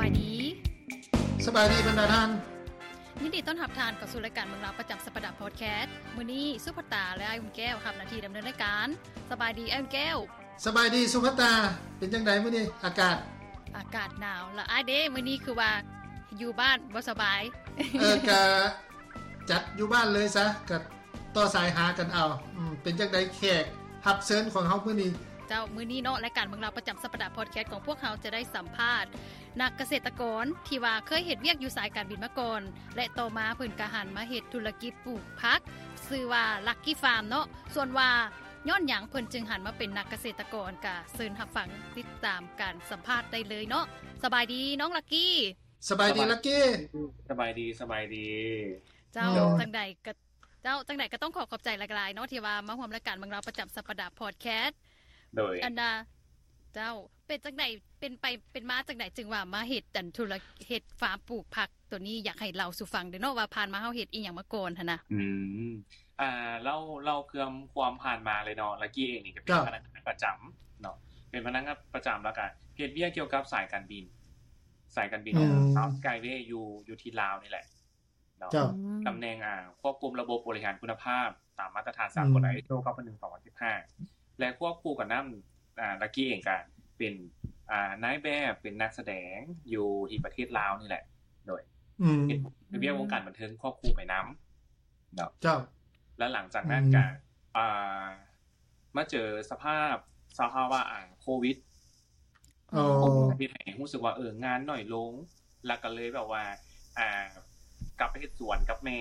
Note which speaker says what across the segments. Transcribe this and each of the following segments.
Speaker 1: บายดี
Speaker 2: สบายดีบรรดาท่าน
Speaker 1: ยินดีต้อนรับทานเข้าสู่รายการเมืองราวประจำสัปดาห์พอดแคสต์มื้อนี้สุภตาและอ้ายอุ่นแก้วรับหน้าที่ดำเนินรายการ สบายดีอ้ายอุ่นแก้ว
Speaker 2: สบายดีสุภตา เป็นจังได๋มื้อนี้อากาศ
Speaker 1: อากาศหนาวและอ้ายเด้มื้อนี้คือว่าอยู่บ้านบ่สบาย
Speaker 2: เออกะจัดอยู่บ้านเลยซะกะต่อสายหากันเอาอืมเป็นจังได๋แขกรับเชิญของเฮามื้อนี้
Speaker 1: เจ้ามื้อนี้เนาะรายการเมืองราวประจำสัปดาห์พอดแคสต์ของพวกเราจะได้สัมภาษณ์ นักเกษตรกรที่ว่าเคยเฮ็ดเวียกอยู่สายการบินมาก่อน และต่อมาเพิ่นก็หันมาเฮ็ดธุรกิจปลูกผักชื่อว่า Lucky Farm เนาะส่วนว่าย้อนหยังเพิ่นจึงหันมาเป็นนักเกษตรกรก็เชิญรับฟังติดตามการสัมภาษณ์ได้เลยเนาะสบายดีน้องลักกี้
Speaker 2: สบายดี
Speaker 3: สบาย
Speaker 2: ลักกี้
Speaker 3: สบายดีสบายดี
Speaker 1: เจ้า
Speaker 2: เนาะ
Speaker 1: จังใดก็เจ้าจังใดก็ต้องขอขอบใจหลายๆเนาะที่ว่ามาร่วมรายการเมืองเราประจำสัปดาห์พอดแคส
Speaker 3: โดย
Speaker 1: อันดาเจ้าเป็นจังไดเป็นไปเป็นมาจังไดจึงว่ามาเฮ็ดอันธุรเฮ็ดฟาร์มปลูกผักตัวนี้อยากให้เราสู่ฟังเด้อเนาะว่าผ่านมาเฮาเฮ็ดอีหยังมาก่อนหั่นน่ะ
Speaker 3: อืม อ่าเล่าเล่าเพื่อความผ่านมาเลยเนาะลักกี้เองนี่ก็เป็
Speaker 2: ครับ
Speaker 3: นพนักงานประจำเนาะเป็นพนักงานประจำแล้วกันเฮ็ดเวียกเกี่ยวกับสายการบิน สายการบิน
Speaker 2: อืม
Speaker 3: ซาวสกายเวย์อยู่อยู่ที่ลาวนี่แหละเนาะ
Speaker 2: เจ้า
Speaker 3: ตำแหน่งอ่าควบคุมระบบบริหารคุณภาพ ตามมาตรฐานสากล
Speaker 2: อืม
Speaker 3: ไอโซ9125และควบคู่กับนำอ่าลักกี้เองก็เป็นอ่านายแบบเป็นนักแสดงอยู่ที่ประเทศลาวนี่แหละ โดย
Speaker 2: อืม
Speaker 3: เป็นเป็นเรียกวงการบันเทิงควบคู่ไปน้ำเนาะ
Speaker 2: เจ้า
Speaker 3: แล้วหลังจากนั้นก็อ่ามาเจอสภาพสภาวะอ่าโควิด
Speaker 2: โอ้
Speaker 3: ที่ไหนรู้สึกว่าเอองานหน่อยลง แล้วก็เลยแบบว่า อ่ากลับไปเฮ็ดสวนกับแม่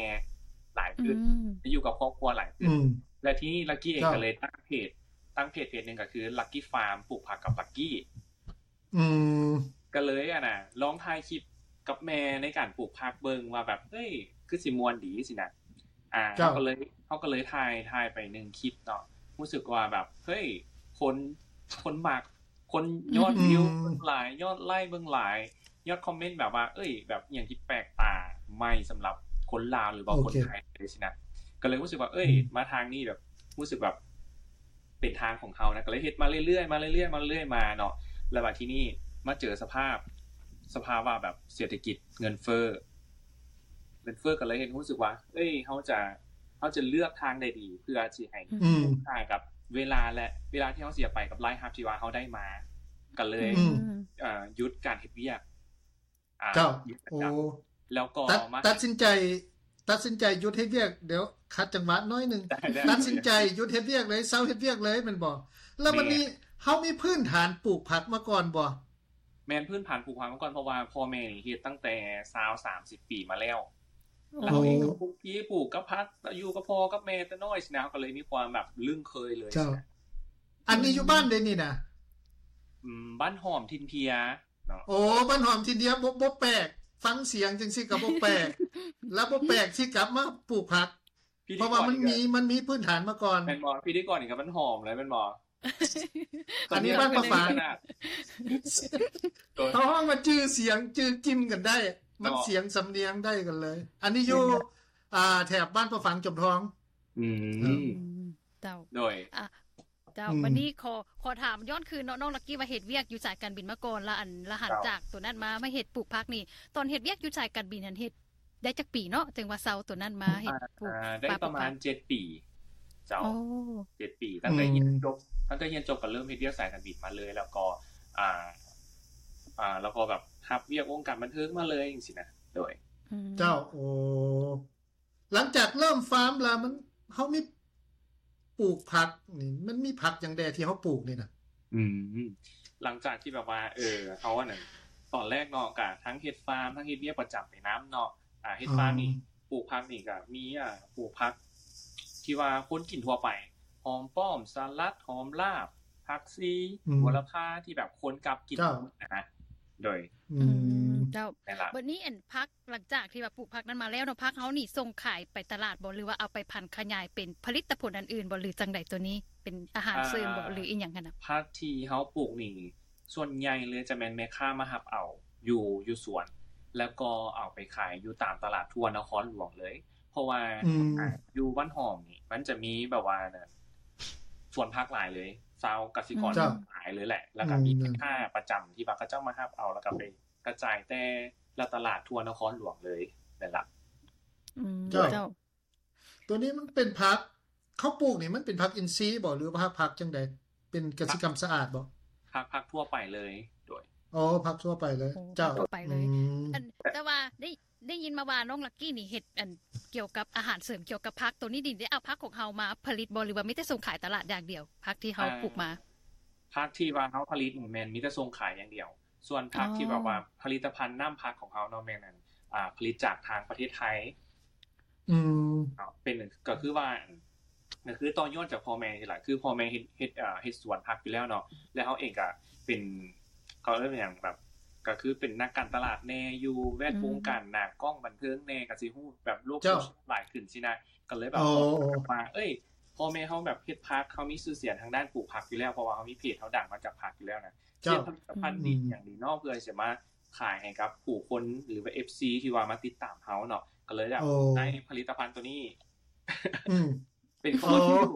Speaker 3: หลาย
Speaker 1: อื
Speaker 3: ขึ้น
Speaker 1: ม
Speaker 3: ไปอยู่กับครอบครัวหลายขึ้น
Speaker 2: อืม
Speaker 3: และที่ลักกี้เอง
Speaker 2: ครับ
Speaker 3: ก็เลยตั้งเพจ ตั้งเพจเพจหนึ่งก็คือลักกี้ฟาร์มปลูกผักกับลักกี้
Speaker 2: อืม
Speaker 3: ก็เลยอ่ะนะลองทายคลิปกับแม่ในการปลูกผักเบิงว่าแบบเฮ้ย คือสิมวนดีสินะอ่า
Speaker 2: ครับ
Speaker 3: เขาก็เลยเขาก็เลยทายทายไปหนึ่งคลิปเนาะรู้สึกว่าแบบ เฮ้ย คนคนหมัก คนยอดวิวเบิ่งหลาย ยอดไลค์เบิงหลาย ยอดคอมเมนต์แบบว่า เอ้ย แบบอย่างที่แปลกตาไม่สำหรับคนลาวหรือว่าคนไทยเลยสินะก็เลยรู้สึกว่า เอ้ย มาทางนี้แบบรู้สึกแบบเป็นทางของเขานะก็เลยเฮ็ดมาเรื่อยๆมาเรื่อยๆมาเรื่อยๆมาเนาะ แล้วมาที่นี่มาเจอสภาพสภาวะแบบเศรษฐกิจเงินเฟ้อเงินเฟ้อก็เลยเห็นรู้สึกว่า เอ้ยเขาจะเขาจะเลือกทางใดดี เพื่อสิให้
Speaker 2: อืม
Speaker 3: คุ้มค่ากับ เวลาและเวลาที่เขาเสียไปกับไลฟ์ฮับที่ว่าเขาได้มาก็เลย
Speaker 2: อืม
Speaker 3: เอ่อยุดการเฮ็ดเวียกอ่
Speaker 2: เจ้า
Speaker 3: ยึดประ
Speaker 2: โอ้
Speaker 3: จำแล้วก็
Speaker 2: ตัด
Speaker 3: มา
Speaker 2: ตัดสินใจ ตัดสินใจหยุดเฮ็ดเวียกเดี๋ยวคัดจังหวะน้อยหนึง
Speaker 3: ได้ได้
Speaker 2: ตัดสินใจหยุดเฮ็ดเวียกเลยเซาเฮ็ดเวียกเลยแมันบ่แล้ว
Speaker 3: แม่
Speaker 2: วันนี้เฮามีพื้นฐานปลูกผักมาก่อนบ่
Speaker 3: แมนพื้นผ่านผูกพันมาก่อนเพราะว่าพ่อแม่นี่เฮ็ดตั้งแต่สาวสามสิบปีมาแล้ว เราเองก็ปลูกพีปลูกกับพักอยู่กับพ่อกับแม่แต่น้อยสินะก็เลยมีความแบบลึ่งเคยเลย
Speaker 2: เจ้า
Speaker 3: สินะ
Speaker 2: อันนี้อยู่บ้านเด้นี่นะ
Speaker 3: อืมบ้านหอมทินเพียเนาะ
Speaker 2: โอ้บ้านหอมทีเดียวบ่บ่แปลก ฟังเสียงจังซี่ก็บ่แปลก แล้วบ่แปลกที่กลับมาปลูกผัก
Speaker 3: พิ
Speaker 2: เพ
Speaker 3: ธี
Speaker 2: ราะ
Speaker 3: ก
Speaker 2: ว่าร มันมีมันมีพื้นฐานมาก่อน
Speaker 3: แมนบอพิธีกรอีกกับบ้านหอมเลยแมนบอ
Speaker 2: อันนี้บ้านประฝาน
Speaker 3: ตัว
Speaker 2: เขาห้องมาจื้อเสียงจื้อจิ้มกันได้ มัน
Speaker 3: เนาะ
Speaker 2: เสียงสำเนียงได้กันเลย อันนี้อยู่อ่าแถบบ้านประฝังจมทอง
Speaker 3: อืม
Speaker 1: อืมเจ้า
Speaker 3: โดย
Speaker 1: อ่ะเจ้า
Speaker 2: อืม
Speaker 1: วันนี้ขอขอถามย้อนคืนเนาะน้องลักกี้ว่าเฮ็ดเวียกอยู่สายการบินมาก่อนและอันละหัน
Speaker 3: ครับ
Speaker 1: จากตัวนั้นมามาเฮ็ดปลูกผักนี่ ตอนเฮ็ดเวียกอยู่สายการบินหันเฮ็ดได้จักปีเนาะจึงว่าเซาตัวนั้นมาเฮ็ดปลูก
Speaker 3: อ่าได้ประมาณเจ็ดปี เจ้า
Speaker 1: โอ้
Speaker 3: เจ็ดปี ตั้งแต่เรียน
Speaker 2: อืม
Speaker 3: จบตั้งแต่เรียนจบก็เริ่มเฮ็ดเรียกสายการบินมาเลย แล้วก็ อ่า อ่า แล้วก็แบบฮับเรียกวงการบันเทิงมาเลยอย่างสินะโดย
Speaker 2: เจ้า โอ้ หลังจากเริ่มฟาร์มแล้วมันเฮามีปลูกผักนี่ มันมีผักอย่างแดที่เฮาปลูกนี่น่ะ
Speaker 3: อืมหลังจากที่แบบว่า เออเขาว่านั่นตอนแรกเนาะกะทั้งเฮ็ดฟาร์มทั้งเฮ็ดเบี้ยประจับในน้ำเนาะอ่าเฮ็ดฟาร์ม
Speaker 2: อืม
Speaker 3: นี่ปลูกพักนี่ก็มีอ่ะปลูกพัก ที่ว่าคนกินทั่วไปหอมป้อมสลัดหอมลาบผักซี
Speaker 2: อืม
Speaker 3: หัวละพาที่แบบคนกลับกิน
Speaker 2: เจ้า
Speaker 3: นะโดย
Speaker 2: อื
Speaker 1: อื
Speaker 2: ม
Speaker 1: มเจ้า
Speaker 3: ในละ
Speaker 1: บัดนี้อันพักหลังจากที่ว่าปลูกพักนั้นมาแล้วเนาะพักเฮานี่ส่งขายไปตลาดบ่หรือว่าเอาไปพันธุ์ขยายเป็นผลิตผลอันอื่นบ่หรือจังใดตัวนี้เป็นอาหารเสริมบ่หรืออีหยังกันน่ะ
Speaker 3: พักที่เขาปลูกนี่ส่วนใหญ่เลยจะแม่นแม่ค้ามาหับเอาอยู่อยู่สวน แล้วก็เอาไปขายอยู่ตามตลาดทั่วนครหลวงเลย เพราะว่า
Speaker 2: อืม
Speaker 3: อ่ะอยู่บ้านหอมนี่มันจะมีแบบว่าน่ะส่วนภาคหลายเลยชาวกสิกร
Speaker 2: จ้ะ
Speaker 3: หลายเลยแหละ แล้วก็
Speaker 2: อืม
Speaker 3: มีค่าประจำที่บางกระเจ้ามาหับเอาแล้วก็ไป กระจายแต่ละตลาดทั่วนครหลวงเลยนั่นล่ะ
Speaker 1: อืม
Speaker 2: เจ้า
Speaker 1: เจ้า
Speaker 2: ตัวนี้มันเป็นผักเขาปลูกนี่มันเป็นผักอินทรีย์บ่หรือว่าผักจังใดเป็นกสิกรรมสะอาดบ่
Speaker 3: พักพักทั่วไปเลยโดย
Speaker 2: อ๋อผักทั่วไปเลย
Speaker 1: โอ้
Speaker 2: เจ้า
Speaker 1: ผักทั่วไปเลย
Speaker 2: อืม
Speaker 1: อันแต่ว่าได้ได้ยินมาว่าน้องลักกี้นี่เห็ดอันเกี่ยวกับอาหารเสริมเกี่ยวกับพักตัวนี้ดินได้เอาพักของเฮามาผลิตบ่หรือว่ามีแต่ส่งขายตลาดอย่างเดียวพักที่เฮา
Speaker 3: อ่า
Speaker 1: ปลูกมา
Speaker 3: พักที่ว่าเขาผลิตแมนมีแต่ทรงขายอย่างเดียว ส่วนพัก
Speaker 1: อ๋อ
Speaker 3: ที่แบบว่าผลิตภัณฑ์น้ำพักของเขาเนาะแมนนั้นอ่าผลิตจากทางประเทศไทย
Speaker 2: อืม
Speaker 3: อ่าเป็นก็คือว่าก็คือตอนย้อนจากพ่อแม่นี่แหละคือพ่อแม่เฮ็ดเฮ็ดอ่าเฮ็ดสวนพักอยู่แล้วเนาะแล้วเขาเองก็เป็นเขาเรียกว่าอย่างแบบ ก็คือเป็นนักการตลาดแน่อยู่แวดวงการหนักกล้องบันเทิงแน่ก็สิฮู้แบบโลก
Speaker 2: เจ้า
Speaker 3: หลายขึ้นสินะก็เลยแบบ
Speaker 2: อ๋อ
Speaker 3: กลับมาเอ้ยพ่อแม่เขาแบบเฮ็ดพักเขามีชื่อเสียงทางด้านปลูกผักอยู่แล้วเพราะว่าเขามีเพจเขาดังมาจากผักอยู่แล้วนะ เช่
Speaker 2: เจ้า
Speaker 3: นผลิตภัณฑ์ดีอย่างดีเนอกเพื่อจะมาขายให้กับผู้คนหรือว่าเอฟซีที่ว่ามาติดตามเขาเนาะก็เลยแบบ
Speaker 2: โอ้
Speaker 3: ได้ผลิตภัณฑ์ตัวนี้
Speaker 2: อืม
Speaker 3: เป็นคอลลาฟิล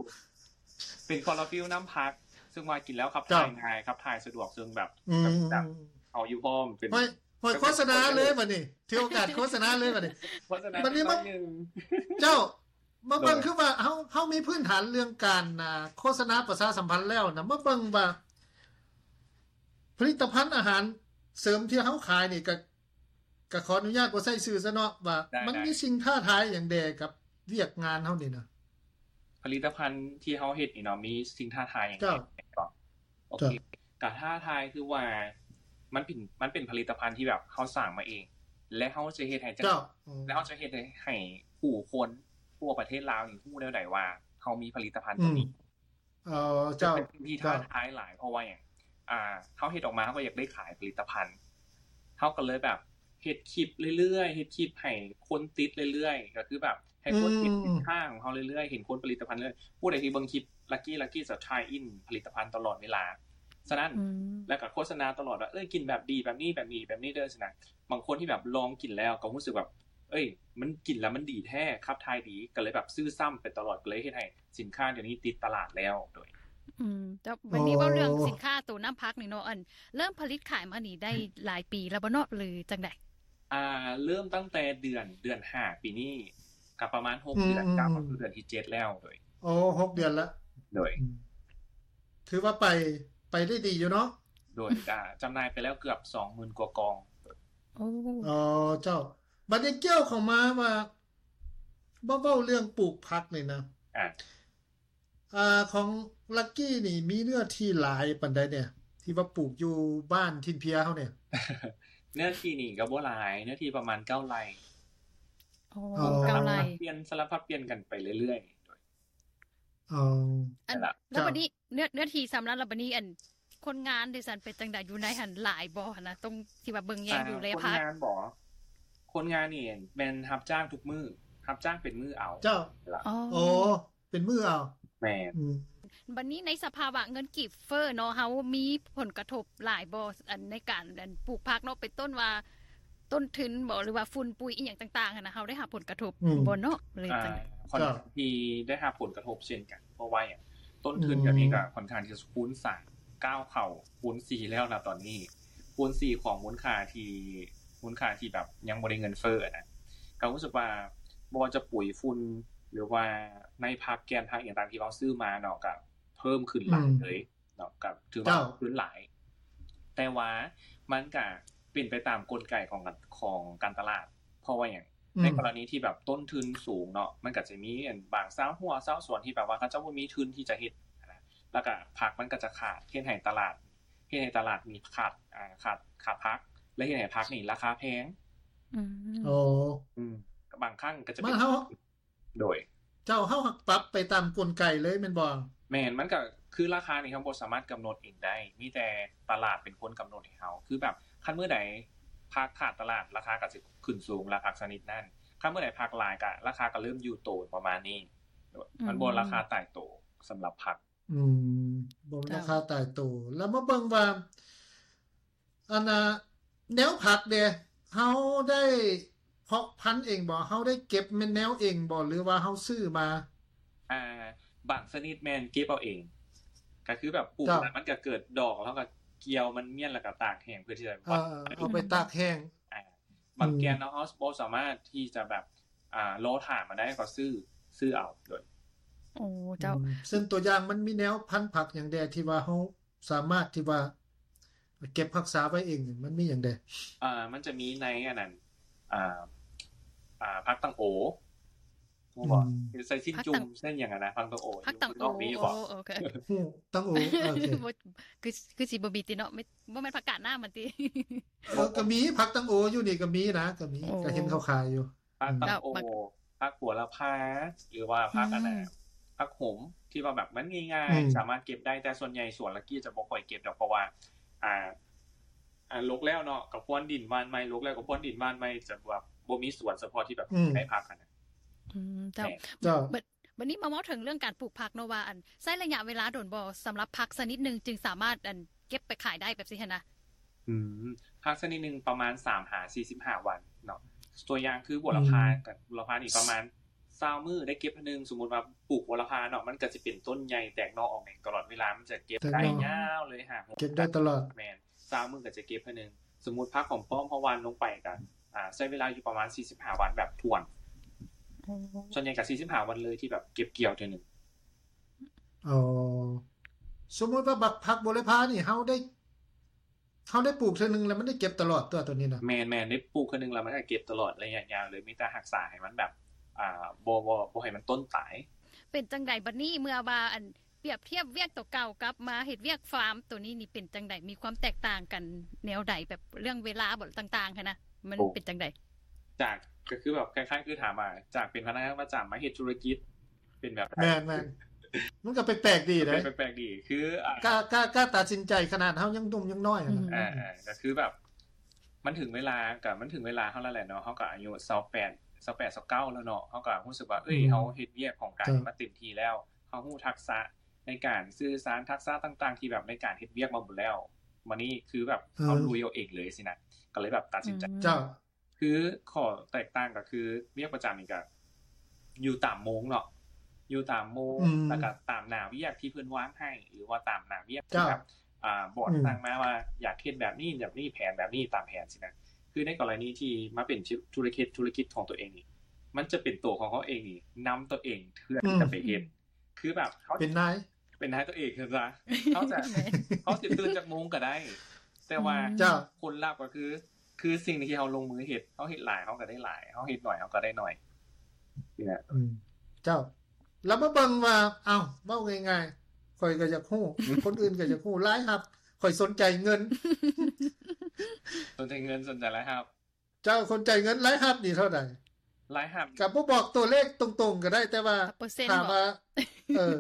Speaker 3: เป็นคอลลาฟิลน้ำพัก ซึ่งมากินแล้วขับถ่าย
Speaker 2: จ้ะ
Speaker 3: ง่ายขับถ่ายสะดวกซึ่งแบบ
Speaker 2: อืม
Speaker 3: แบบเอาอยู่พร้อมเป็น
Speaker 2: หอยหอยโฆษณาเลยบัดนี้ถือโอกาสโฆษณาเลยบัดนี้
Speaker 3: เพราะฉะนั้น
Speaker 2: มันนี่มัน
Speaker 3: หนึ่ง
Speaker 2: เจ้ามาเบิ่ง
Speaker 3: โดย
Speaker 2: คือว่าเฮาเฮามีพื้นฐานเรื่องการนะโฆษณาประชาสัมพันธ์แล้วนะมาเบิ่งว่า ผลิตภัณฑ์อาหารเสริมที่เฮาขายนี่ก็ก็ขออนุญาตบ่ใส่ชื่อซะเนาะว่า
Speaker 3: ได้
Speaker 2: มัน
Speaker 3: ได้
Speaker 2: มีสิ่งท้าทายอย่างใดกับเรียกงานเฮานี่นะ
Speaker 3: ผลิตภัณฑ์ที่เขาเห็นนี่เนาะมีสิ่งท้าทายอย่างไร
Speaker 2: เจ้า
Speaker 3: โอเคกาท่าทายคือว่ามันเป็นมันเป็นผลิตภัณฑ์ที่แบบเขาสั่งมาเอง และเขาจะเฮ็ดให้จัง
Speaker 2: เจ้า
Speaker 3: แล้วเขาจะเฮ็ดให้ผู้คนทั่วประเทศลาวนี่ผู้แนวไหนว่าเขามีผลิตภัณฑ์ตัวนี้
Speaker 2: เอ่อเจ้า
Speaker 3: เป็นสิ่งที่ท้าทายหลายเพราะว่าอย่างอ่าเขาเฮ็ดออกมาเขาก็อยากได้ขายผลิตภัณฑ์เขาก็เลยแบบเฮ็ดคลิปเรื่อยๆเฮ็ดคลิปให้คนติดเรื่อยๆก็คือแบบให้คนเห็น
Speaker 2: อืม
Speaker 3: สินค้าของเขาเรื่อยๆเห็นคนผลิตภัณฑ์เรื่อยผู้ใดที่เบิ่งคลิปลักกี้ลักกี้จะทายอินผลิตภัณฑ์ตลอดเวลาฉะนั้น
Speaker 1: อืม
Speaker 3: แล้วก็โฆษณาตลอดว่าเอ้ยกินแบบดีแบบนี้แบบนี้แบบนี้เด้อสินะบางคนที่แบบลองกินแล้วก็รู้สึกแบบ เอ้ย มันกินแล้วมันดีแท้ครับทายดีก็เลยแบบซื้อซ้ำไปตลอดก็เลยเฮ็ดให้สินค้าเดี๋ยวนี้ติดตลาดแล้วโดย
Speaker 1: อืมแต่วันนี้เว่าเรื่อง
Speaker 2: โอ้
Speaker 1: สินค้าตัวน้ำพักนี่เนาะอัน เริ่มผลิตขายมานี่ได้หลายปีแล้วบ่เนาะหรือจังได๋
Speaker 3: อ่า เริ่มตั้งแต่เดือนเดือนห้าปีนี้กับประมาณหก
Speaker 2: อืม
Speaker 3: เดือนกับ
Speaker 2: อืม
Speaker 3: เดือนที่เจ็ดแล้วโดย
Speaker 2: โอ้หกเดือนละ
Speaker 3: โดย
Speaker 2: ถือว่าไปไปได้ดีอยู่เนาะ
Speaker 3: โดย อ่าจำหน่ายไปแล้วเกือบสองหมื่นกว่ากล่อง
Speaker 1: โอ้
Speaker 2: อ๋อเจ้า บัดนี้เกี่ยวเข้ามาว่าบ่เว้าเรื่องปลูกผักนี่นะ
Speaker 3: อ่ะ
Speaker 2: อ่าของลักกี้นี่มีเนื้อที่หลายปานใดเนี่ย ที่ว่าปลูกอยู่บ้านทินเพียเฮาเนี่ย
Speaker 3: เนื้อที่นี่ก็บ่หลายเนื้อที่ประมาณเก้าไร่
Speaker 1: โอ้
Speaker 2: อ๋อ
Speaker 1: กำไร
Speaker 3: สลับเปลี่ยนสลับพับเปลี่ยนกันไปเรื่อยๆโดย
Speaker 2: อ๋อ
Speaker 1: อัน
Speaker 3: สลับ
Speaker 1: แล้ว
Speaker 2: เจ้า
Speaker 1: บัดนี้เนื้อเนื้อทีสำหรับแล้วบัดนี้อันคนงานดิฉันเป็นจังไดอยู่ในหันหลายบ่นะต้องที่ว่าเบิ่งแยงอยู่เลย
Speaker 3: อ่า
Speaker 1: พั
Speaker 3: ค
Speaker 1: ก
Speaker 3: นงานบอคนงานนี่เป็นรับจ้างทุกมือรับจ้างเป็นมือเอา
Speaker 2: เจ้า
Speaker 3: ล่ะ
Speaker 1: อ๋อ
Speaker 2: โอ้เป็นมือเอา
Speaker 3: แมน
Speaker 2: อืม
Speaker 1: บัดนี้ในสภาวะเงินกีบเฟ้อเนาะเฮามีผลกระทบหลายบ่อันในการอันปลูกผักเนาะเป็นต้นว่า ต้นทุนบ่หรือว่าฝุ่นปุ๋ยอีหยังต่างๆหั้นนะเฮาได้รับผลกระทบ
Speaker 2: อืม
Speaker 1: บ่เนาะเลย
Speaker 3: อ่า
Speaker 1: จังได๋
Speaker 3: คอน
Speaker 2: เจ้า
Speaker 3: ที่ได้รับผลกระทบเช่นกัน เพราะว่าอย่างต้นทุน
Speaker 2: อืม
Speaker 3: เดี๋ยวนี้ก็ค่อนข้างที่จะคูณสามก้าวเข่าคูณสี่แล้วนะตอนนี้คูณสี่ของมูลค่าที่มูลค่าที่แบบยังบริเงินเฟ้อนะก็รู้สึกว่าบอจะปุ๋ยฝุ่นหรือว่าในพักแกนพักอย่างต่างที่เราซื้อมาเนาะกับเพิ่มขึ้นหลายเลย เนาะกับถือว่า
Speaker 2: เจ้า
Speaker 3: พื้นหลาย แต่ว่ามันก็เปลี่ยนไปตามกลไกของการของการตลาด เพราะว่าอย่าง
Speaker 2: อื
Speaker 3: ใน
Speaker 2: ม
Speaker 3: กรณีที่แบบต้นทุนสูงเนาะมันก็จะมีอันบางเศร้าหัวเศร้าส่วนที่แบบว่าเขาเจ้าบ่มีทุนที่จะเฮ็ดนะแล้วก็ผักมันก็จะขาดเฮ็ดให้ตลาดเฮ็ดให้ตลาดมีขาดอ่าขาดขาดพัก และเฮ็ดให้พักนี่ราคาแพง
Speaker 1: อืม
Speaker 2: โอ้
Speaker 3: อืมก็บางครั้งก็จะ
Speaker 2: มั
Speaker 3: เป็น
Speaker 2: นเฮา
Speaker 3: โดย
Speaker 2: เจ้าเฮาหักปรับไปตามกลไกเลยแม่นบ่
Speaker 3: แม่นมันก็คือราคานี่ครับบ่สามารถกำหนดเองได้ มีแต่ตลาดเป็นคนกำหนดให้เขาคือแบบคันเมื่อใดภาคขาดตลาดราคาก็สิขึ้นสูงราคาชนิดนั่นคันเมื่อใดภาคหลายก็ราคาก็เริ่มอยู่โตประมาณนี้ มันบ่ราคาตายโตสำหรับผัก
Speaker 2: อืมบ่มีราคาตายตัวแล้วมาเบิ่งว่าอันน่ะแนวผักเด้เฮาได้เพาะพันธุ์เองบ่เฮาได้เก็บแม่นแนวเองบ่หรือว่าเฮาซื้อมา
Speaker 3: อ่าบางชนิดแม่นเก็บเอาเอง ก็คือแบบปลูก
Speaker 2: ครับ
Speaker 3: แล้วมันก็เกิดดอกแล้วก็ เกียวมันเมี่ยนแล้วก็ตากแห้งเพื่อที่จะ
Speaker 2: อ่าเอาไปตากแห้ง
Speaker 3: บางแกนเนาะเฮาส์โบสามารถที่จะแบบอ่าโลถ่านมาได้ก็ซื้อซื้อเอาโดย
Speaker 1: โอ้เจ้า
Speaker 2: อืมซึ่งตัวอย่างมันมีแนวพันธุ์ผักอย่างใดที่ว่าเฮาสามารถที่ว่า เก็บรักษาไว้เองนี่มันมีอย่างใด
Speaker 3: อ่ามันจะมีในอันนั้นอ่าอ่าพักตังโอผมบอกใส่ชิ้นจุ่
Speaker 1: พักตั
Speaker 3: ม
Speaker 1: ง
Speaker 3: เส้นอย่างนั้นนะพักตังโอ
Speaker 1: พักต่าง
Speaker 3: อยู่
Speaker 1: โอ้
Speaker 3: นอกนี้บอก
Speaker 1: โอเค
Speaker 2: ฮู้ตั้งโอโอเค
Speaker 1: บ่คือคือสิบ่มีติเนาะไม่บ่แม่นผักกาดหน้ามันติ
Speaker 2: เออก็มีผักตั้งโออยู่นี่ก็มีนะก็มี
Speaker 1: โอ้
Speaker 2: ก็เห็นเขาขายอยู่
Speaker 3: พักตังโอ
Speaker 1: แล้วมัน
Speaker 3: พักหัวละพาหรือว่าพักอะไร
Speaker 1: อืม
Speaker 3: พักหมที่ว่าแบบมันง่าย
Speaker 2: อืม
Speaker 3: ๆ สามารถเก็บได้แต่ส่วนใหญ่สวนลักกี้จะบ่ค่อยเก็บดอกเพราะว่า อ่า อ่าลกแล้วเนาะกับพวนดินบ้านไม่ลกแล้วกับพวนดินบ้านไม่จะแบบบ่มีสวนเฉพาะที่แบบ
Speaker 2: อืม
Speaker 3: ได้พักกันนะ
Speaker 1: อืมเจ้า
Speaker 2: เจ้า
Speaker 1: บัดวันนี้มาเมาถึงเรื่องการปลูกผักโนวาอันใช้ระยะเวลาโดนบอสำหรับผักสกนิดหนึ่งจึงสามารถอันเก็บไปขายได้แบบสิฮะนะ
Speaker 3: อืมพักสักนิดนึงประมาณสามหาสี่สิบห้าวันเนาะตัวอย่างคือบัวละพา
Speaker 2: อืม
Speaker 3: กับบัวละพาอีกประมาณเศร้ามือได้เก็บอันหนึงสมมติว่าปลูกบัวละพาเนาะมันก็จะเป็นต้นใหญ่แตกหนอออกแหน่งตลอดเวลามันจะเก็บ
Speaker 2: แต่
Speaker 3: ได้
Speaker 2: เนาะ
Speaker 3: ยาวเลยห่าง
Speaker 2: เก็บได้ตลอด
Speaker 3: แมนซาวมึงก็จะเก็บเพื่อหนึ่งสมมติพักของป้อมพะวันลงไปกันอ่าใช้เวลาอยู่ประมาณสี่สิบห้าวันแบบทวน ส่วนใหญ่กับสี่สิบห้าวันเลยที่แบบเก็บเกี่ยวเท่อหนึ่ง
Speaker 2: อ๋อสมมุติว่าบักผักบริพานี่เฮาได้เฮาได้ปลูกเทื่อนึงแล้วมันได้เก็บตลอดตัวตัวนี้นะ
Speaker 3: แมนแมนได้ปลูกเท่อหนึ่งแล้วมันก็เก็บตลอดระยะยาวเลยมีแต่หักษาให้มันแบบ อ่าโบโบโบให้มันต้นตาย
Speaker 1: เป็นจังใดบัดนี้เมื่อว่าอันเปรียบเทียบเวียกตัวเก่ากับมาเห็ดเวียกฟาร์มตัวนี้นี่เป็นจังใดมีความแตกต่างกันแนวใดแบบเรื่องเวลาบทต่างๆค่ะนะมันเป็นจังใด
Speaker 3: จากก็คือแบบคล้ายๆคือถามมาจากเป็นพนักงานประจำมาเฮ็ดธุรกิจ เป็นแบบ
Speaker 2: แม่นแม่นมันก็แปลกๆดี
Speaker 3: เป็
Speaker 2: นะ
Speaker 3: นแปลกๆดีคืออ่า
Speaker 2: กล้ากล้ากล้าตัดสินใจขนาดเฮายังหนุ่มยังน้อยอะนะ
Speaker 3: อ่าอ่าก็คือแบบ มันถึงเวลากับมันถึงเวลาเขาแล้วแหละเนาะเขาก็อายุสองแปดสองแปดสองเก้าแล้วเนาะเขาก็รู้สึกว่าเอ้ย
Speaker 2: อืม
Speaker 3: เขาเฮ็ดเวียกของการ
Speaker 2: ครับ
Speaker 3: มาเต็มทีแล้วเขาหู้ทักษะในการสื่อสารทักษะต่าง ๆ ที่แบบในการเฮ็ดเวียกมาหมดแล้วมันนี่คือแบบเขาลุยเอาเองเลยสินะก็เลยแบบตัดสินใจ
Speaker 2: เจ้า
Speaker 3: คือข้อแตกต่างก็คือเรียกประจำนี่ก็อยู่ตามโมงเนาะอยู่ตามโมง
Speaker 2: อืม
Speaker 3: แล้วก็ตามหนาวิทยาที่เพื่อนวางให้ หรือว่าตามหนาวิทยาที่
Speaker 2: ค
Speaker 3: แบ
Speaker 2: รับบ
Speaker 3: อ่าบอร์ด
Speaker 2: อืม
Speaker 3: ตั้งมาว่าอยากเฮ็ดแบบนี้แบบนี้แผนแบบนี้ตามแผนสินะคือในกรณีที่มาเป็นธุรกิจธุรกิจของตัวเองนี่มันจะเป็นตัวของเขาเองนี่นำตัวเองเพื่อที่จะไปเฮ็ดคือแบบเขา
Speaker 2: เป็นนาย
Speaker 3: เป็นนายตัวเองคือซะเขาจะ เขาสิตื่นจากโมงก็ได้ แต่ว่า
Speaker 2: เจ้า
Speaker 3: คนรับก็คือ คือสิ่งที่เขาลงมือเห็ดเขาเห็ดหลายเขาก็ได้หลายเขาเห็ดหน่อยเขาก็ได้หน่อยเนี่ย
Speaker 2: อืมเจ้า แล้วมาเบิ่งว่า เอ้าเว้าง่ายๆข่อยก็อยากฮู้ คนอื่นก็อยากฮู้หลายครับข่อยสนใจเงิน
Speaker 3: สนใจเงินสนใจไรายครับ
Speaker 2: เจ้าคนใจเงินหลายครับนี่เท่าใด
Speaker 3: ไรายครับ
Speaker 2: ก็บ่บอกตัวเลขตรงๆ ก็ได้ แต่ว่า
Speaker 1: เปอร์เซ็นต์
Speaker 2: ถาม
Speaker 1: บอ
Speaker 2: ว่า เออ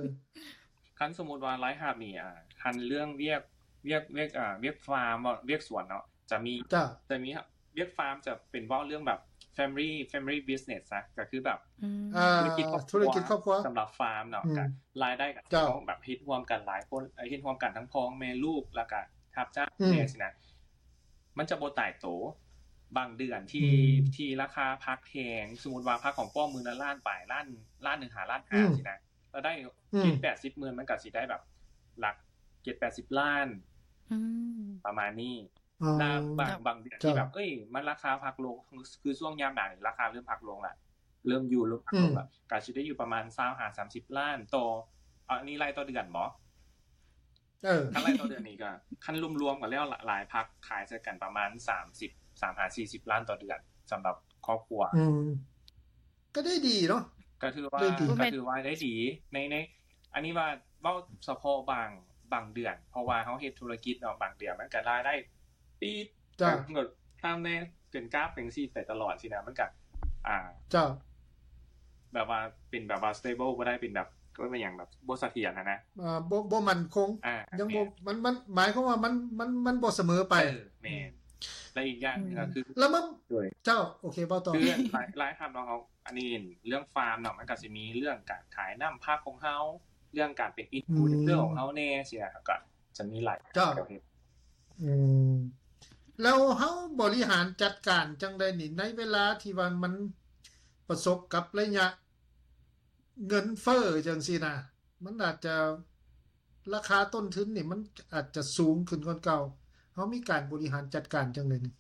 Speaker 3: คันสมมติว่าไรายครับนี่อ่าคันเรื่องเรียกเรียกเรียกอ่าเรียกฟาร์มเรียกสวนเนาะจะมี
Speaker 2: เจ้า
Speaker 3: จะมีครับเรียกฟาร์มจะเป็นเว่าเรื่องแบบ family family business นะก็คือแบบ
Speaker 2: อ่า ธุรกิจครอบครัว
Speaker 3: สำหรับฟาร์มเนาะ
Speaker 2: อืม
Speaker 3: กับรายได้กับ
Speaker 2: เจ้า
Speaker 3: เขาแบบฮิตรวมกันหลายคนเอ่อฮิตรวมกันทั้งพ้องแม่ลูกแล้วก็ทับจ้าง
Speaker 2: อืม
Speaker 3: เนี่ยสินะมันจะโบตายโตบางเดือนที่
Speaker 2: อืม
Speaker 3: ที่ราคาพักแพงสมมติว่าพักของป้อมมือละล้านป่ายล้านล้านหนึ่งหาล้าน
Speaker 2: อื
Speaker 3: ห้าม สินะเราได้
Speaker 2: อืม
Speaker 3: เจ็ดแปดสิบหมื่นมันก็สิได้แบบ หลักเจ็ดแปดสิบล้านประมาณนี้
Speaker 2: อ๋อ
Speaker 3: ตามบางบางเดือนที่
Speaker 2: จ้ะ
Speaker 3: แบบเอ้ยมันราคาพักลงคือช่วงยามหนาวเนี่ยราคาเริ่มพักลงละเริ่มอยู่เริ่มพักลงละกาชิได้อยู่ประมาณสามหาสามสิบล้านต่ออ่ะนี่รายต่อเดือนบอ
Speaker 2: เออ
Speaker 3: คั้นรายต่อเดือนนี่ก็ขั้นรวมๆกันแล้วหลายพักขายใช้กันประมาณสามสิบสามหาสี่สิบล้านต่อเดือนสำหรับครอบครัว
Speaker 2: อืม ก็ได้ดีเนาะ
Speaker 3: ก็คือว่า
Speaker 2: ได้ดี
Speaker 3: ก็คือว่าได้ดีในในอันนี้ว่าเว่าเฉพาะบางบางเดือน เพราะว่าเขาเฮ็ดธุรกิจเนาะบางเดือนมันก็รายได้ปีด
Speaker 2: เจ้า
Speaker 3: กำหนดตามแนวเป็นกราฟเป็นซี่แต่ตลอดสินะมันกับอ่า
Speaker 2: เจ้า
Speaker 3: แบบว่าเป็นแบบว่า stable ก็ได้เป็นแบบก็เป็นอย่างแบบบสเสถียรนะนะ
Speaker 2: อ่าบ่บ่มั่นคง
Speaker 3: อ่า
Speaker 2: ยั
Speaker 3: ยัง
Speaker 2: บ่มันมันหมายความว่ามันมันมันบ่เสมอไป
Speaker 3: ไปแมนและอีกอย่างหนึงก็คือ
Speaker 2: แล้วมัน
Speaker 3: ด้วย
Speaker 2: เจ้า โอเคเว้าต่อ
Speaker 3: คือหลายหลายคำเนาะเขาอันนี้เรื่องฟาร์มเนาะมันก็สิมีเรื่องการขายน้ำพักของเขาเรื่องการเป็นอินฟลูเอนเซอ
Speaker 2: อื
Speaker 3: ร์
Speaker 2: ม
Speaker 3: ของเขาแน่เสียครับก็จะมีหลาย
Speaker 2: จ้ะ
Speaker 3: ประเภท
Speaker 2: อืมแล้วเฮาบริหารจัดการจังได๋นี่ในเวลาที่ว่ามันประสบกับระยะ เงินเฟ้อจังซี่นะมันอาจจะ ราคาต้นทุนนี่มันอาจจะสูงขึ้นกว่าเก่าเฮามีการบริหารจัดการจังได๋นี่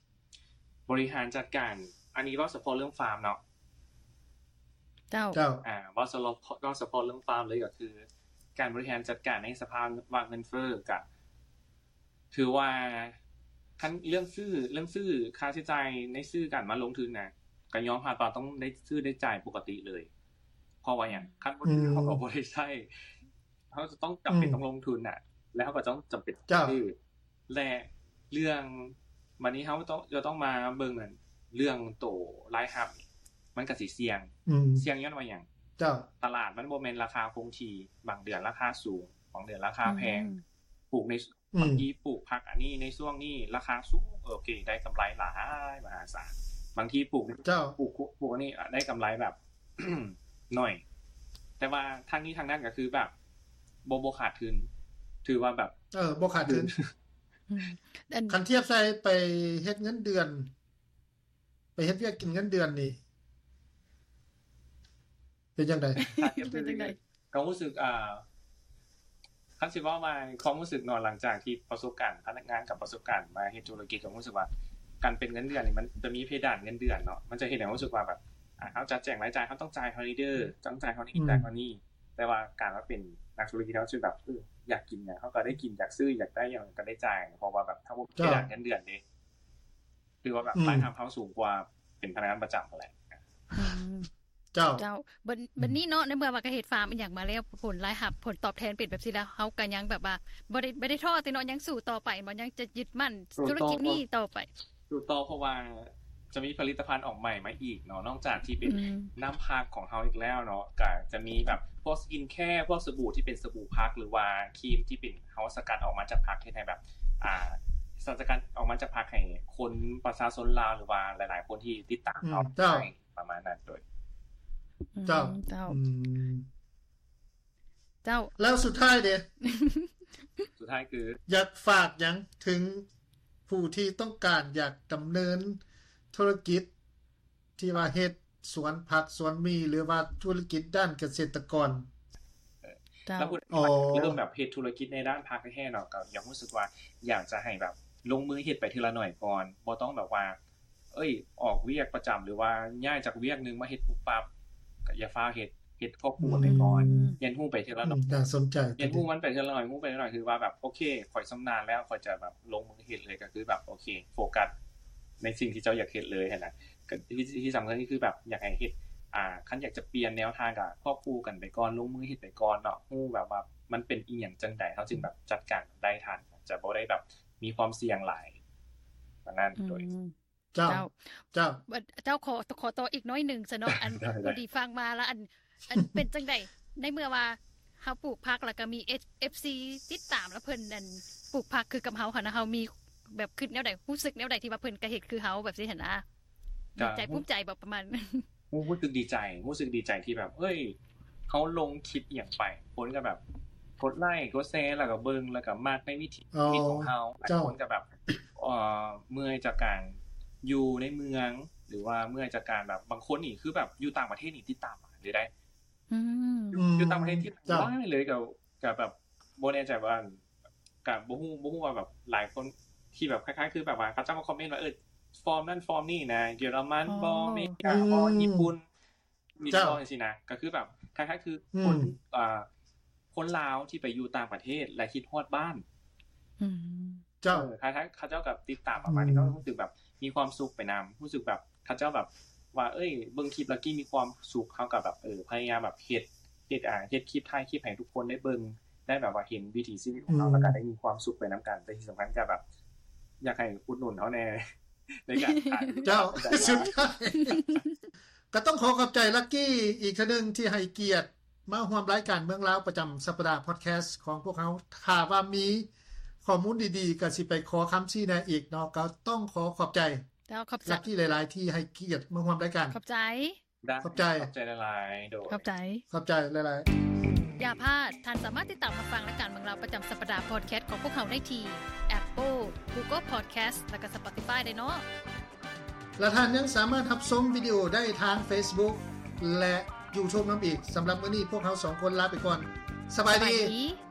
Speaker 3: บริหารจัดการ อันนี้ก็เฉพาะเรื่องฟาร์มเนาะ
Speaker 1: เจ้า
Speaker 2: เจ้า
Speaker 3: อ่าว่าสำหรับนอกเฉพาะเรื่องฟาร์มเลยก็คือ การบริหารจัดการในสภาวะเงินเฟ้อกับถือว่าขั้นเรื่องซื้อเรื่องซื้อค่าใช้จ่ายในซื้อการมาลงทุนนะกันย้อมผ่าตอนต้องได้ซื้อได้จ่ายปกติเลย เพราะว่าอย่างขั้นบน
Speaker 2: อืม
Speaker 3: เขาบอกบริใช่เขาจะต้องจำเป็น
Speaker 2: อืม
Speaker 3: ต้องลงทุนน่ะ แล้วเขาก็ต้องจำเป็น
Speaker 2: เจ้า
Speaker 3: ซื้อและเรื่องวันนี้เขาต้องจะต้องมาเบิ่งนั่นเรื่องโตรายหับ มันกับสีเสียง
Speaker 2: อืม
Speaker 3: เสียงย้อนว่าอย่าง
Speaker 2: เจ้า
Speaker 3: ตลาดมันโมเมนราคาคงทีบางเดือนราคาสูงบางเดือนราคาแพง
Speaker 1: อืม
Speaker 3: ปลูกใน
Speaker 2: อืม
Speaker 3: บางทีปลูกผักอันนี้ในช่วงนี้ราคาสูงเออโอเค ได้กำไรหลายมหาศาลบางทีปลูก
Speaker 2: เจ้า
Speaker 3: ปลูกปลูกอันนี้อ่ะได้กำไรแบบ หน่อย แต่ว่าทางนี้ทางนั้นก็คือแบบโบโบขาดทุนถือว่าแบบ
Speaker 2: เออบ่ขาดทุน
Speaker 1: อืมอัน
Speaker 2: คันเทียบใส่ไปเฮ็ดเงินเดือน ไปเฮ็ดเวียกกินเงินเดือนนี่เป็นจังได
Speaker 3: ถ้าเทียบ
Speaker 1: เป็นจังได๋
Speaker 3: ความรู้สึกอ่าคันสิว่ามาความรู้สึกนอนหลังจากที่ประสบการณ์พนักงานกับประสบการณ์มาเฮ็ดธุรกิจก็รู้สึกว่า การเป็นเงินเดือนนี่มันจะมีเพดานเงินเดือนเนาะมันจะเห็นให้รู้สึกว่าแบบอ่ะเขาจะแจกรายจ่ายเขาต้องจ่ายฮอลิเดอร์ต้องจ่ายฮอลิ
Speaker 2: อืม
Speaker 3: จ่ายฮอนี่แต่ว่าการว่าเป็นนักธุรกิจเขาชื่อแบบเอออยากกินเนี่ยเขาก็ได้กินอยากซื้ออยากได้อย่างก็ได้จ่ายเพราะว่าแบบถ้าว่าเพดานเงินเดือนเนี่ยคือว่าแบบรายทำเขาสูงกว่าเป็นพนักงานประจำแหละ
Speaker 1: อืม
Speaker 2: เจ้า
Speaker 1: เจ้าบัดบัดนี้เนาะในเมื่อว่ากเฮ็ดฟาร์มอีหยังมาแล้วผลรายหับ ผลตอบแทนเป็นแบบสิแล้วเฮาก็ยังแบบว่าบ่ได้บ่ได้ท้อแต่เนาะยังสู้ต่อไปบ่ยังจะยึดมั่น
Speaker 3: ถูกต้อง
Speaker 1: ธุรกิจนี้ต่อไป
Speaker 3: ดูต่อเพราะว่าจะมีผลิตภัณฑ์ออกใหม่มาอีกเนาะนอกจากที่เป็น
Speaker 1: อืม
Speaker 3: น้ำพักของเขาอีกแล้วเนาะก็จะมีแบบพวกสกินแคร์พวกสบู่ที่เป็นสบู่พักหรือว่าครีมที่เป็นเขาสกัดออกมาจากพักที่ไหนแบบ อ่าสารสกัดออกมาจากพักให้คนประชาชนลาวหรือว่าหลาย ๆ คนที่ติดตามเขา
Speaker 2: อืมเจ้า
Speaker 3: ได้ประมาณนั้นโดย
Speaker 2: เจ้า
Speaker 1: เจ้า
Speaker 2: อืม
Speaker 1: เจ้า
Speaker 2: แล้วสุดท้ายเด้
Speaker 3: สุดท้ายคือ
Speaker 2: อยากฝากหยังถึงผู้ที่ต้องการอยากดำเนินธุรกิจ ที่ว่าเฮ็ดสวนผักสวนมี หรือว่าธุรกิจด้านเกษตรกร
Speaker 1: เจ้า
Speaker 3: ถ้าพูด
Speaker 2: อ๋อ
Speaker 3: เรื่องแบบเพจธุรกิจในด้านพักแค่เนาะก็ยังรู้สึกว่าอยากจะให้แบบลงมือเฮ็ดไปทีละหน่อยก่อนบ่ต้องแบบว่า เอ้ย ออกเวียกประจำหรือว่าย้ายจากเวียกหนึงมาเฮ็ดปุ๊บปั๊บก็อย่าฟ้าเฮ็ดเฮ็ดครอบครัวไปก่อน
Speaker 1: อืม
Speaker 3: เรียนรู้ไปทีละหน่อย
Speaker 2: น่าสนใจ
Speaker 3: เรียนรู้มันไปเท่าไหร่รู้ไปเท่าไหร่คือว่าแบบโอเคข่อยชำนาญแล้วข่อยจะแบบลงมือเฮ็ดเลยก็คือแบบโอเค โฟกัสในสิ่งที่เจ้าอยากเฮ็ดเลยหั่นน่ะก็ที่ที่สำคัญก็คือแบบอยากให้เฮ็ดอ่าคันอยากจะเปลี่ยนแนวทางก็ควบคู่กันไปก่อนลงมือเฮ็ดไปก่อนเนาะฮู้แบบว่ามันเป็นอีหยังจังใดเฮาจึงแบบจัดการได้ทันจะบ่ได้แบบมีความเสี่ยงหลายปานนั้น
Speaker 1: อื
Speaker 3: โดย
Speaker 1: ม
Speaker 2: เจ้า
Speaker 1: เจ้า
Speaker 2: เจ้า
Speaker 1: บัดเจ้าขอขอตัวอีกน้อยหนึ่งซะเนาะอัน
Speaker 3: ได้ได้
Speaker 1: พอดีฟังมาแล้วอันอันเป็นจังได๋ในเมื่อว่าเฮาปลูกผักแล้วก็มี H- FC ติดตามแล้วเพิ่นนั่นปลูกผักคือกับเฮาหั่นนะเฮามีแบบคิดแนวใดรู้สึกแนวใดที่ว่าเพิ่นก็เฮ็ดคือเฮาแบบสิหั่นนะดีใจภูมิใจบ่ประมาณ
Speaker 3: รู้รู้สึกดีใจรู้สึกดีใจที่แบบ เอ้ยเขาลงคลิปอหย่างไปคนก็แบบกดไลค์กดแชร์แล้วก็เบิ่งแล้วก็มากในวิถี
Speaker 2: อ๋อ
Speaker 3: ชีวิตของเขาหลาย
Speaker 2: เจ้า
Speaker 3: คนก็แบบเอ่อเมื่อยจากการอยู่ในเมือง หรือว่าเมื่อยจากการแบบบางคนนี่คือแบบอยู่ต่างประเทศนี่ติดตามมาเลยได้
Speaker 1: อืม
Speaker 2: ม
Speaker 3: อยู่ต่างประเทศที่
Speaker 2: เจ้า
Speaker 3: ได้เลยกับกับแบบโบแน่ใจว่ากับโบฮู้โบฮู้ว่าแบบหลายคนที่แบบคล้ายๆ คือแบบว่าเขาจะมาคอมเมนต์ว่าเออฟอร์มนั่นฟอร์มนี่นะเยอรมัน
Speaker 1: อ๋อ
Speaker 3: บอลอเมริกา
Speaker 2: อืม
Speaker 3: บอลญี่ปุ่นมี
Speaker 2: เจ้า
Speaker 3: บอลสินะก็คือแบบคล้ายๆ คือคน
Speaker 2: อืม
Speaker 3: อ่าคนลาวที่ไปอยู่ต่างประเทศและคิดฮอดบ้าน
Speaker 1: อืม
Speaker 2: เจ้า
Speaker 3: เออคล้ายๆเขาเจ้ากับติดตามประมาณนี้ก็
Speaker 2: อืม
Speaker 3: รู้สึกแบบมีความสุขไปนำรู้สึกแบบเขาเจ้าแบบ ว่าเอ้ยเบิ่งคลิปแล้วกี้มีความสุขเขากับแบบเออพยายามแบบเฮ็ดเฮ็ดอ่าเฮ็ดคลิปถ่ายคลิปให้ทุกคนได้เบิ่งได้แบบว่าเห็นวิถีชีวิตของเขา
Speaker 2: อืม
Speaker 3: แล้วก็ได้มีความสุขไปนํกันแต่ที่สำคัญก็แบบ อยากให้อุดหนุนเขาใน ในการขาย
Speaker 2: เจ้า
Speaker 3: แต่
Speaker 2: สุด
Speaker 3: ว่า
Speaker 2: ท้าย ก็ต้องขอขอบใจลักกี้อีกเทื่อหนึงที่ให้เกียรติมาร่วมรายการเมืองลาวประจำสัปดาห์พอดแคสต์ของพวกเขาถ้าว่ามีข้อมูลดีๆก็สิไปขอคำชี้แนะอีกเนาะก็ต้องขอขอบใจ
Speaker 1: เจ้าขอบใจ
Speaker 2: ลักกี้หลาย ๆ ที่ให้เกียรติมาร่วมรายการ
Speaker 1: ขอบใจ
Speaker 3: ได้
Speaker 2: ขอบใจ
Speaker 3: ขอบใจหลายๆโดย
Speaker 1: ขอบใจ
Speaker 2: ขอบใจหลาย ๆ
Speaker 1: อย่าพลาด ท่านสามารถติดตามรับฟังรายการของเราประจำสัปดาห์พอดแคสต์ของพวกเขาได้ที่ Apple Google Podcast และก็ Spotify ได้เนาะ
Speaker 2: และท่านยังสามารถรับชมวิดีโอได้ทาง Facebook และ YouTube น้ำอีกสำหรับมื้อนี้พวกเขาสองคนลาไปก่อน สบายดี
Speaker 1: สวัสดี